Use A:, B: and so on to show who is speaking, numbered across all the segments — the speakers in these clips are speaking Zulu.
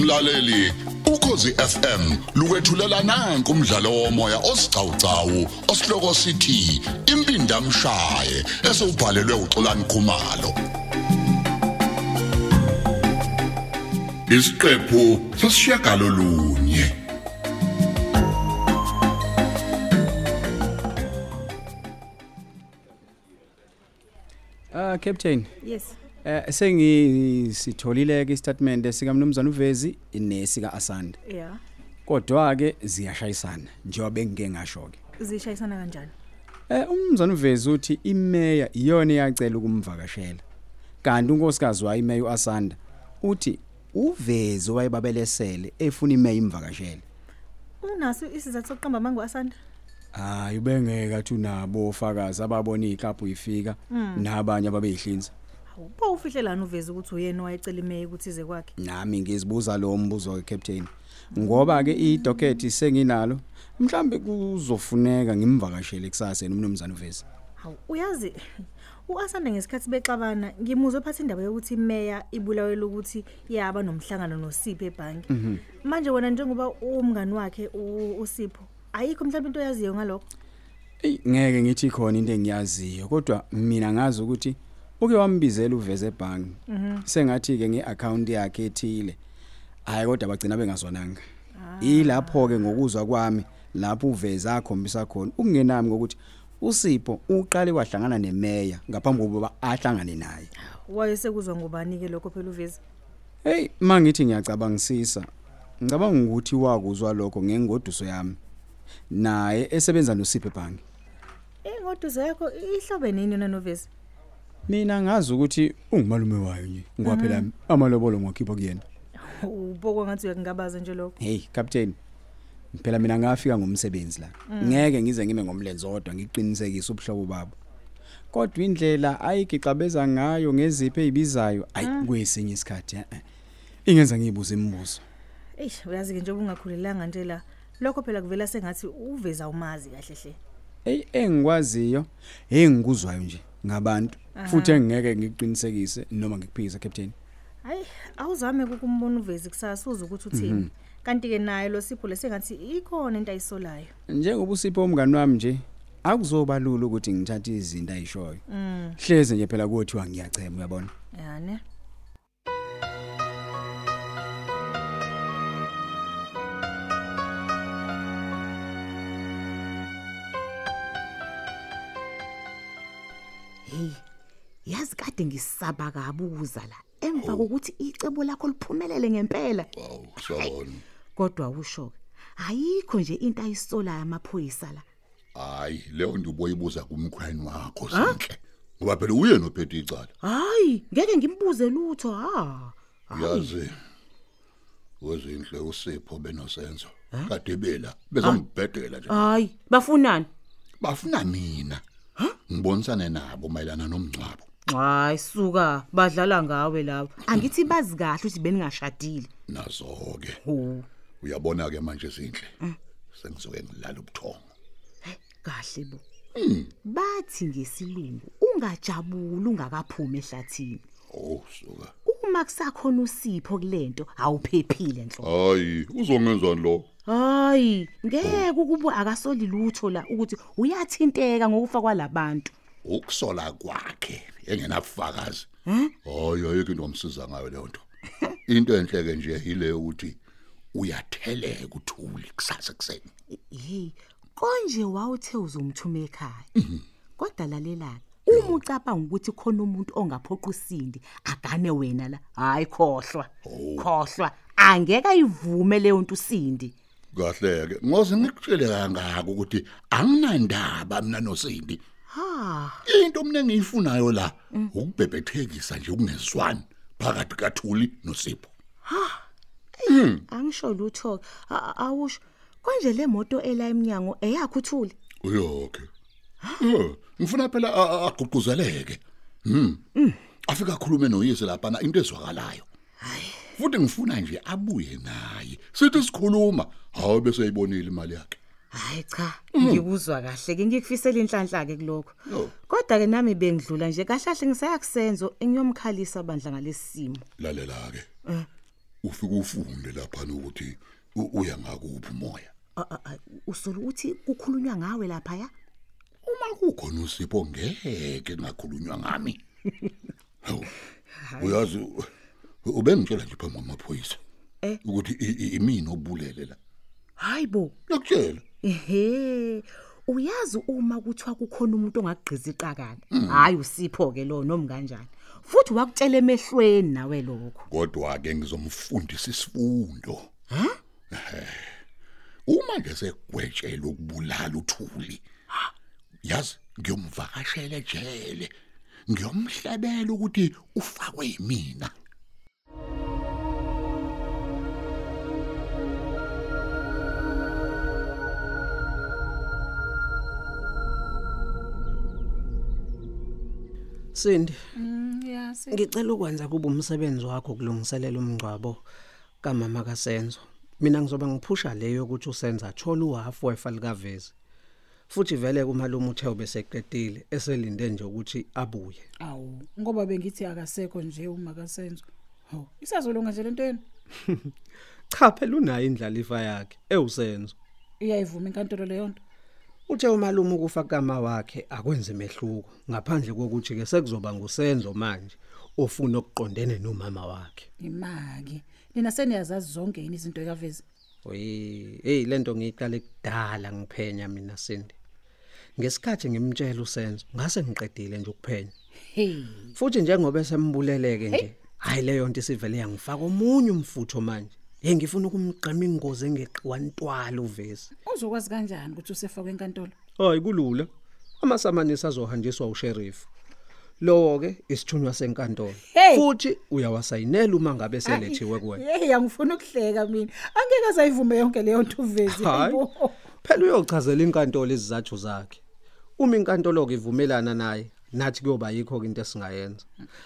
A: mlaleli ukhosi FM lukwethulela nanku umdlalo womoya osiqhawqhawo osihloko sithi impinda mshaye esubhalelwe uXolani Khumalo isiqephu sasishiyagalo lunye
B: Ah captain
C: Yes.
B: eh sengisitholile ke istatement sikaMnumzane uVezi nesika Asanda
C: Yeah.
B: kodwa ke ziyashayisana njengoba bengike ngasho ke
C: Zishayisana kanjani?
B: eh uMnumzane uVezi uthi imeya iyona eyacela ukumvakashela kanti unkosikazi wayo imeya uAsanda uthi uVezi wayebabelesele efuna imeya imvakashele
C: Unaso isizathu sokuqamba amangu asanda?
B: hayi ubengeka athi unabo ofakazi ababona iklabhu ifika nabanye ababeyihlinza
C: Awubo ufihlelana uveze ukuthi uyena owayecela imeye ukuthi ize kwakhe.
B: nami ngizibuza lo mbuzo ke captain ngoba ke idocket senginalo mhlambe kuzofuneka ngimvakashele kusasa nomnumzana uvezi
C: Hawu uyazi uAsanda ngesikhathi bexabana ngimuzwe phatha indaba yokuthi imeya ibulawele ukuthi yaba nomhlangano noSipho ebhanki. Manje wena njengoba umngani wakhe u- uSipho ayikho mhlawumbe into oyaziyo ngalokho.
B: eyi ngeke ngithi khona into engiyaziyo kodwa mina ngazi ukuthi uke wambizela uveze ebhangi sengathi ke ngeaccount yakhe ethile hayi kodwa bagcina bengazwananga ilapho ke ngokuzwa kwami lapho uveze akhombisa khona ukungenami ukuthi usipho uqale wahlangana nemeya ngaphambi kokuba ahlangane naye
C: Wayesekuzwa ngubani ke lokho phela uveze?
B: Hey mangithi ngiyacabangisisa. Ngicabanga ukuthi wakuzwa lokho ngengoduso yami. Naye esebenza noSipho ebhangi.
C: Ingoduzo Eh, yakho ihlobe nini yona novezi?
B: Mina ngazi ukuthi ungumalume wayo nje. Ngwaphela mm. amalobolo ngokhipha kuyena.
C: Ubokwa ngathi uyakungabaza nje lokho.
B: Hey captain. Phela mina ngafika ngomsebenzi la. Mm. Ngeke ngize ngime ngomlenze odwa ngiqinisekise ubuhlobo babo. Kodwa indlela ayigicabeza ngayo ngezipho ezibizayo ayi mm. kwesinye isikhathi. eh, eh. Ingenza ngibuze imibuzo.
C: Eish uyazi ke njengoba ungakhulelanga nje la lokho phela kuvela sengathi uveza umazi kahle hle.
B: hey engikwaziyo engikuzwayo nje ngabantu futhi engeke ngiqinisekise noma ngikuphikise captain
C: Hayi awuzame ukumbona uvezi kusasa uza ukuthi uthini. Kanti ke naye lo sipho lesengathi ikhona into ayisolayo.
B: njengoba usipho umngani wami nje akuzobalula ukuthi ngithathe izinto ayishoyo hleze nje phela kuthiwa ngiyachema uyabona
C: Yani.
D: Hey, yazi kade ngisaba kabuza la emva kokuthi icebo lakho liphumelele ngempela.
A: aw shona
D: Kodwa usho ke ayikho nje into ayisolayo amaphoyisa la.
A: hayi leyo nto uboyibuza kumkhweni wakho senhle ngoba phela uyena ophethe icala
D: Hayi, ngeke ngimbuze lutho ha.
A: yazi wezinhle usipho benosenzo kade bela bezongibhedela nje
D: Hayi, bafunani?
A: bafuna mina ngibonisane nabo mayelana nomngcwabo
D: Hayi suka, badlala ngawe laba. Angithi bazi kahle ukuthi beningashadile.
A: nazo ke
D: Ho,
A: uyabona ke manje izinhle sengizoke ngilala ubuthongo
D: kahle bo. Bathi ngesilungu ungajabula ungakaphumi ehlathini.
A: oh suka
D: Uma kusakhona usipho kulento awuphephile nhlo.
A: hayi uzongenzani lo
D: Hayi, ngeke ukuba akasoli lutho la ukuthi uyathinteka ngokufa kwalabantu.
A: ukusola kwakhe engenabufakazi hayi ayikho into omsiza ngayo leyo nto into enhle ke nje ile ukuthi uyatheleka uthuli kusasa kuseni
D: Hey, konje wawuthe uzomthuma ekhaya. Kodwa lalela, uma ucabanga ukuthi khona umuntu ongaphoqa usindi, agane wena la. Hayi khohlwa. Khohlwa. Angeke ayivume leyo nto usindi.
A: kahle ke ngoze ngikutshele kangaka ukuthi anginandaba mina noSindi
D: Ha,
A: into mina engiyifunayo la ukubhebhethekisa nje ukungezwani phakathi kaThuli noSipho
D: angisho lutho. A- a- Awusho. Konje le moto ela eminyango eyakho uthule.
A: uyokhe Eh, ngifuna phela a- a- aguquzeleke mhm afika khulume noyise lapha na into ezwakalayo futhi ngifuna nje abuye naye sithi sikhuluma hawo bese uyibonile imali yakhe
D: Hayi cha, ngikuzwa kahle ke ngikufisela inhlanhla ke kuloko.
A: Yo.
D: Kodwa ke nami bengidlula nje kahlahle ngisayakusenzo engiyomkhalisa bandla ngalesimo.
A: lalela ke ufike ufunde lapha ukuthi u- uya ngakuphi umoya
D: A- a- a- usolo ah, uthi kukhulunywa ngawe laphaya
A: uma kukhona usipho ngeke ngakhulunywa ngami hawu uyazi u- ubengitshela nje phambi kwamaphoyisa
D: Eh?
A: ukuthi i- i- imini obulele la
D: hayi bo
A: nakutshela
D: ehe uyazi uma kuthiwa kukhona umuntu ongakugqiza iqakala hhayi usipho-ke lo noma kanjani futhi wakutshela emehlweni nawe lokho
A: kodwa ke ngizomfundisa isifundo Ehhe. uma nje segwetshelwe ukubulala uthuli yazi ngiyomvakashela ejele ngiyomhlebela ukuthi ufakwe yimina
E: Sindi,
C: yasi
E: ngicela ukwenza kube umsebenzi wakho kulungiselela umngcwabo kamama kaSenzo. Mina ngizobe ngiphusha leyo ukuthi usenza thola uhalf wefa likavezi. Futhi vele kumalume uthe ubeseqedile eselinde nje ukuthi abuye.
F: awu ngoba bengithi akasekho nje uma kasenzo hawu isazolunga nje lento yenu
E: Cha phela unayo indlalifa yakhe ewusenzo.
F: iyayivuma inkantolo leyo nto
E: Uthe umalume ukufa kama wakhe akwenzi mehluko ngaphandle kokuthi ke sekuzoba ngusenzo manje ofuna ukuqondene nomama wakhe.
F: imaki nina seniyazazi zonke yini izinto ekavezi
E: Oyi, hey lento ngiyiqale kudala ngiphenya mina Sindi. Ngesikhathi ngimtshela uSenzo, ngase ngiqedile nje ukuphenya.
F: heyi
E: Futhi njengoba sembuleleke nje, hayi leyo nto isivele yangifaka omunye umfutho manje. Hey ngifuna ukumgqima ingozi engeqiwantwala uvesi.
F: uzokwazi kanjani ukuthi usefakwe enkantolo
E: Hayi kulula. Amasamanisi azohanjiswa usheriff. Lowo ke isithunywa senkantolo.
F: Hey!
E: Futhi uyawasayinela uma ngabe selethiwe kuwena.
F: yeyi angifuna ukuhleka mina angeke azayivume yonke leyo nto uvezi
E: Hayi.
F: yebo.
E: Phela uyochazela inkantolo izizathu zakhe. Uma inkantolo kivumelana naye, nathi kuyoba yikho into esingayenza.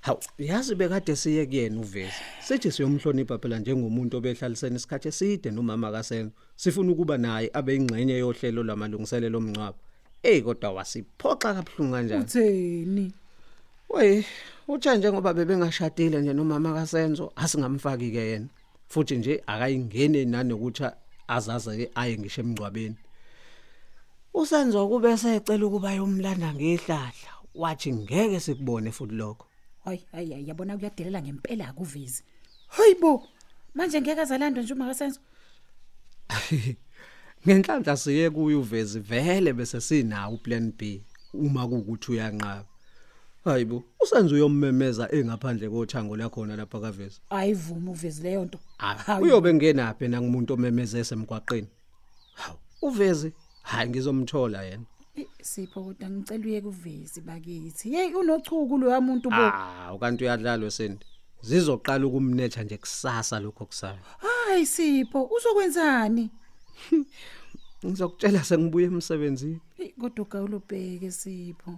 E: Hawu, yazi bekade siye kuyena uvezi. Sithi siyomhlonipha phela njengomuntu obehlalisene isikhathi eside nomama kaSenzo. Sifuna ukuba naye abe ingxenye yohlelo lamalungiselelo omncwabo. Ey kodwa wasiphoxa kabuhlungu kanjani?
F: utheni
E: Wey, uthe njengoba bebengashadile nje nomama kaSenzo asingamfaki ke yena. Futhi nje akayingene nanokuthi azaze aye ngisho emgcwabeni. Usenzo kube secela ukuba yomlanda ngehlahla, wathi ngeke sikubone futhi lokho.
F: hayi hayi hayi, yabona kuyadelela ngempela kuvezi hayi bo manje ngeke azalandwe nje uma kasenzo
E: Ngenhlanhla siye kuye uvezi vele bese sinawo uplan B uma kukuthi uyanqaba. Hayibo, usenzo uyommemeza engaphandle kothango lakhona lapha kaVezi.
F: ayivumi uvezi leyo nto
E: Ah, uyobe ngenaphi na kumuntu omemeze esemgwaqeni hawu uvezi hayi ngizomthola yena
F: Eh, sipho kodwa ngicela uye kuvezi bakithi yeyi unochuku loya muntu bo
E: ah ukanti uyadlalwe sindi zizoqala ukumnetha nje kusasa lokho kusayo
F: hayi sipho uzokwenzani
E: ngizokutshela sengibuye emsebenzini
F: Eyi, kodwa ugawulubheke sipho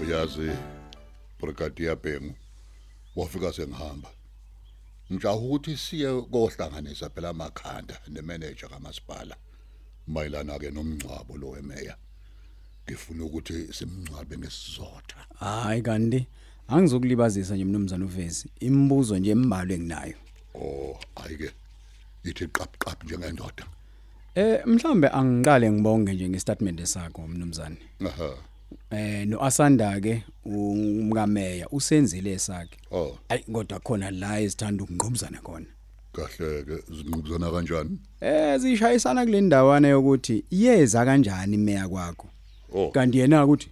A: uyazi brigadier Bengu wafika sengihamba ngijahu ukuthi siye kohlanganisa phela amakhanda nemanager kamasipala mayelana ke nomngcwabo lo wemeya ngifuna ukuthi simngcwabe ngesizotha
B: hayi kanti angizokulibazisa nje mnumzane uvezi imibuzo nje embalwa enginayo
A: oh ayike ithi qap qap njengendoda
B: eh mhlambe angiqale ngibonge nje ngestatement sakho mnumzane
A: aha
B: eh noasanda ke umkameya usenzile sakhe
A: oh
B: ayi kodwa khona la ezithanda ukungqomzana khona
A: kahle ke zinqubuzana kanjani
B: eh zishayisana kule ndawana yokuthi yeza kanjani imeya kwakho
A: oh
B: kanti yena ukuthi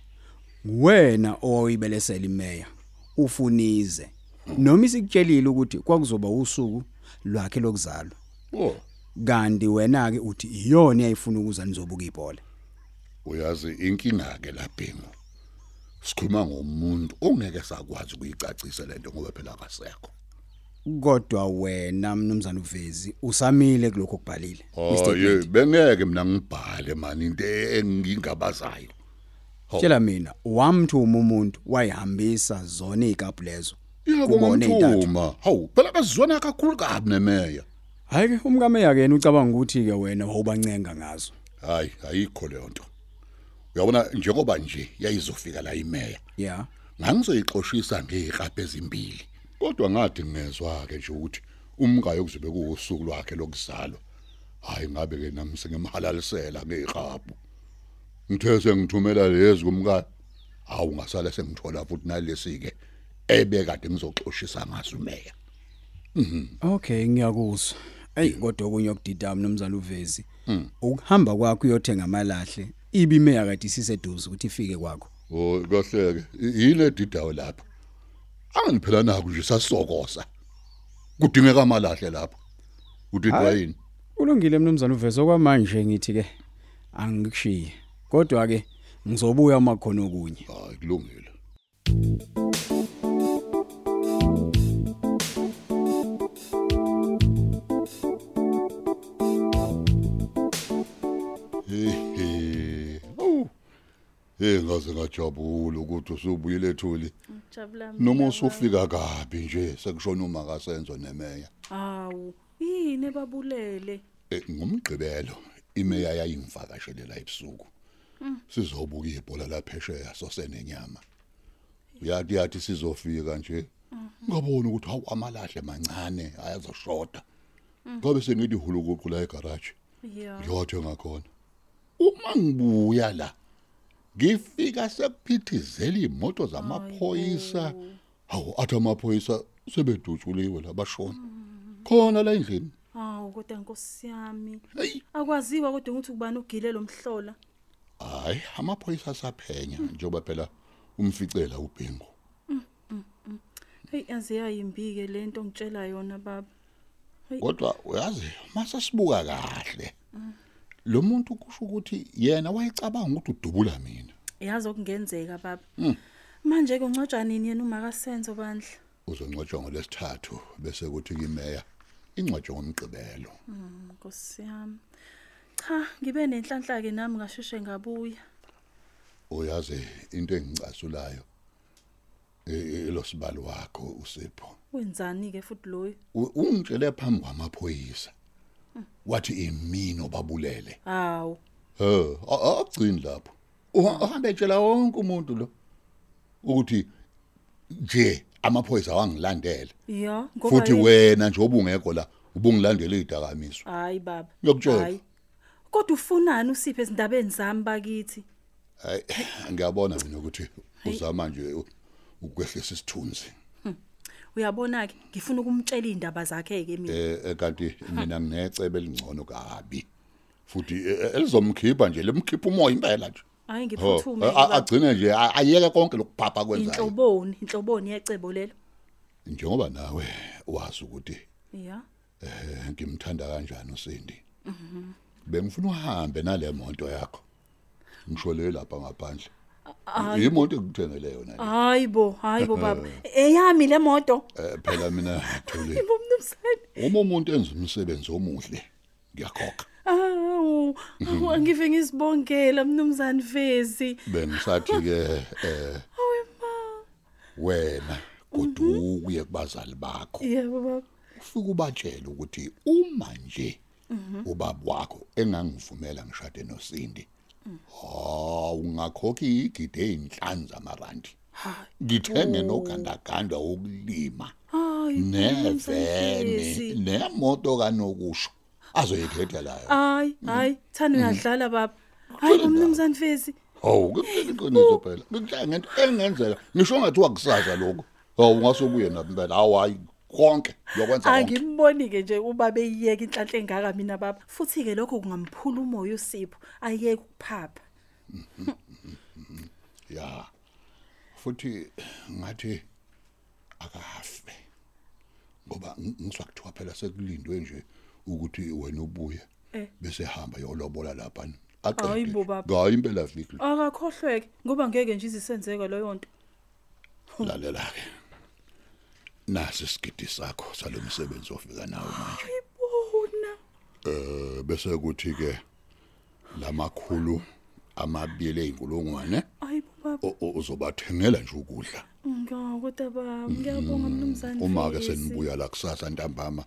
B: wena owayibelesela imeya ufunize noma isikutshelile ukuthi kwakuzoba usuku lwakhe lokuzalwa
A: oh
B: kanti wena ke uthi iyona eyayifuna ukuza nizobuka ibhola
A: uyazi inkinga ke labhengu sikhuluma ngomuntu ongeke sakwazi ukuyicacisa lento ngoba phela akasekho
B: kodwa wena mnumzane uvezi usamile kuloko kubhalile
A: oh ye bengeke mina ngibhale mani into engingabazayo
B: tshela mina wamthuma umuntu wayihambisa zona izikapu lezo
A: yebo
B: Kubone intathu.
A: ngomthuma hawu phela bazizwana kakhulu kabi nemeya
B: Hayi ke umkameya ke yena ucabanga ukuthi ke wena wawubancenga ngazo.
A: hayi ayikho leyo nto uyabona njengoba nje yayizofika la imeya
B: Yeah.
A: ngangizoyixoshisa ngezikrabhe ezimbili kodwa ngathi ngezwa ke nje ukuthi umkayo kuzobe kuusuku lwakhe lokuzalwa hayi ngabe ke nami sengemhalalisela ngezikrabhu ngithe sengithumela lezi kumkayo awu ngasale sengithola futhi nalesi ke ebekade ngizoxoshisa ngaso umeya
B: Okay ngiyakuzwa. Ey kodwa okunye okudida mnumzana uvezi. Ukuhamba kwakho uyothenga amalahle ibe imeya kade isiseduze ukuthi ifike kwakho.
A: Oh kahleke yini edidayo lapha? Angiphela nako nje sasokoza. Kudingeka amalahle lapha. Uthi wayini?
B: Ulungile mnumzana uvezi okwamanje ngithi ke angikushiye. Kodwa ke ngizobuya uma khona okunye.
A: Hayi kulungile. Hehe. Awu. Eh ngaze ngajabula ukuthi usubuyile ethuli.
G: Jabula mina.
A: Noma usufika kabi nje sekushona uma kasenzo nemeya.
G: Awu, yini ebabulele?
A: Eh, ngomgqibelo imeya yayimvakashelela ebusuku sizobuka ibhola laphesheya sosenenyama uyathi yathi sizofika nje ngabona ukuthi hawu amalahle mancane ayazoshoda ngobe sengithi hulukuqu la egarage
G: Yeah.
A: ngiyothenga khona uma ngibuya la ngifika sekuphithizela imoto zamaphoyisa hawu athi amaphoyisa sebedutshuliwe labashona khona la endlini
G: Awu kodwa inkosi yami.
A: hayi
G: Akwaziwa kodwa ukuthi kubani ugile lo mhlola.
A: Hayi, amaphoyisa asaphenya njengoba phela umficela uBhengu.
G: Hey yaze yayimbike lento ngitshela yona baba.
A: Kodwa uyazi mase sibuka kahle. Lo muntu kusho ukuthi yena wayecabanga ukuthi udubula mina.
G: Yazi okungenzeka baba.
D: Mm.
G: Manje ke uncojwa nini yena uma kasenzo bandla?
A: Uzonqotshwa ngolesithathu bese kuthi kimeya ingcwatsho ngomgqibelo.
G: Nkosi yami. Cha, ngibe nenhlanhla ke nami ngasheshe ngabuya.
A: Uyazi into engicasulayo. Eh lo sibali wakho usipho.
G: Wenzani ke futhi loyo?
A: U- Ungitshele phambi kwamaphoyisa. Wathi imino babulele.
G: Awu.
A: Eh, a- agcini lapho. Uha- Uhambe tshela wonke umuntu lo ukuthi nje amaphoyisa wangilandela.
G: Yeah, ngoba
A: Futhi
G: yena-
A: wena nje obungekho la ubungilandela izidakamizwa.
G: Hayi baba.
A: Ngiyakutshela.
G: Hayi. Kodwa ufunani usiphe ezindabeni zami bakithi?
A: Hayi, ngiyabona mina ukuthi uzama nje u- ukwehlisa isithunzi.
G: Uyabona ke ngifuna ukumtshela indaba zakhe ke mina.
A: Eh eh, kanti mina nginecebe elingcono kabi. Futhi eh, elizomkhipha nje lemkhipha umoya impela nje.
G: Hayi
A: Ho,
G: ngiphuthume
A: a- a- agcine nje a- ayeke konke lokuphapha kwenzayo.
G: inhloboni, inhloboni yecebo lelo.
A: Njengoba nawe wazi ukuthi
G: Yeah.
A: Eh ngimthanda kanjani uSindi? Mhm. Bengifuna uhambe nale moto yakho. Ngisho le lapha ngaphandle. Imoto engikuthengele yona le.
G: Hayi bo, hayi bo baba. Eyami le moto.
A: Eh, phela mina thule.
G: Yebo mnumzane.
A: Uma umuntu enza umsebenzi omuhle, ngiyakhokha.
G: Awu, awu, angive ngisibongela mnumzane Vezi.
A: Bengisathi ke eh
G: Awu ma. Mhm.
A: wena godu uye kubazali bakho.
G: Yebo baba.
A: Ufike ubatshele ukuthi uma nje
G: Mhm.
A: ubaba wakho engangivumela ngishade noSindi.
G: Mm.
A: Ha, ungakhokhi igide einhlanza amarandi.
G: Hayi.
A: ngithenge nogandaganda wokulima
G: Hayi.
A: nevene nemoto kanokusho azoyikhetha layo
G: Hayi, hayi, thana uyadlala baba. Hayi bo mnumzane Vezi.
A: hawu ngikutshela iqiniso phela ngikutshela ngento engenzeka ngisho ngathiwa kusasa lokho hawu ungasobuye nami phela hawu hayi konke lokwenza konke
G: angimboni ke nje uba beyiyeka inhlanhla engaka mina baba futhi ke lokho kungamphula umoya usipho ayeke ukuphapha
A: ya futhi ngathi akafe ngoba ng- ngizwa kuthiwa phela sekulindwe nje ukuthi wena ubuye
G: Eh.
A: bese hamba yolobola lapha
G: Hayi bo, baba.
A: ngayo impela viki
G: akakhohlweke ngoba ngeke nje izisenzeka leyo nto
A: lalela ke nasi isigidi sakho salomsebenzi ofika nawo manje
G: ibona
A: eh bese kuthi ke lamakhulu amabili einkulungwane
G: ayibo baba
A: o- o- uzobathengela nje ukudla Mm,
G: ngakodwa baba ngiyabonga mnumzane
A: uma ke
G: Vezi.
A: senibuya la kusasa ntambama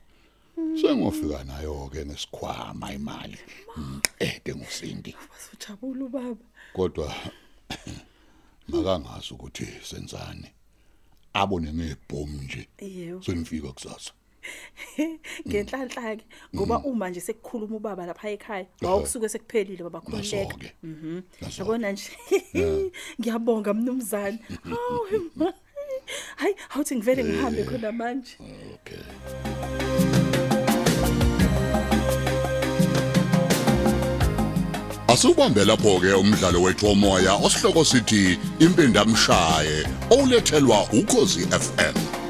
A: Sengofika nayo ke nesikhwama imali. Mm, Ede ngusindi.
G: Sojabula ubaba.
A: Kodwa makangazi ukuthi senzani. Abone ngebhomu nje.
G: Yebo.
A: Senifika kusasa. Mm.
G: Ngenhlanhla ke ngoba uma nje sekukhuluma ubaba lapha ekhaya wawukusuke sekuphelile baba khululeka. Mhm.
A: Naso-ke. Naso-ke.
G: Yabona nje. Ngiyabonga mnumzane. Hawu ma. Hayi, awuthi ngivele ngihambe khona manje.
A: Okay. Asubambe lapho ke umdlalo wethomoya osihloko sithi impindamshaye olethelwa ukozi FM.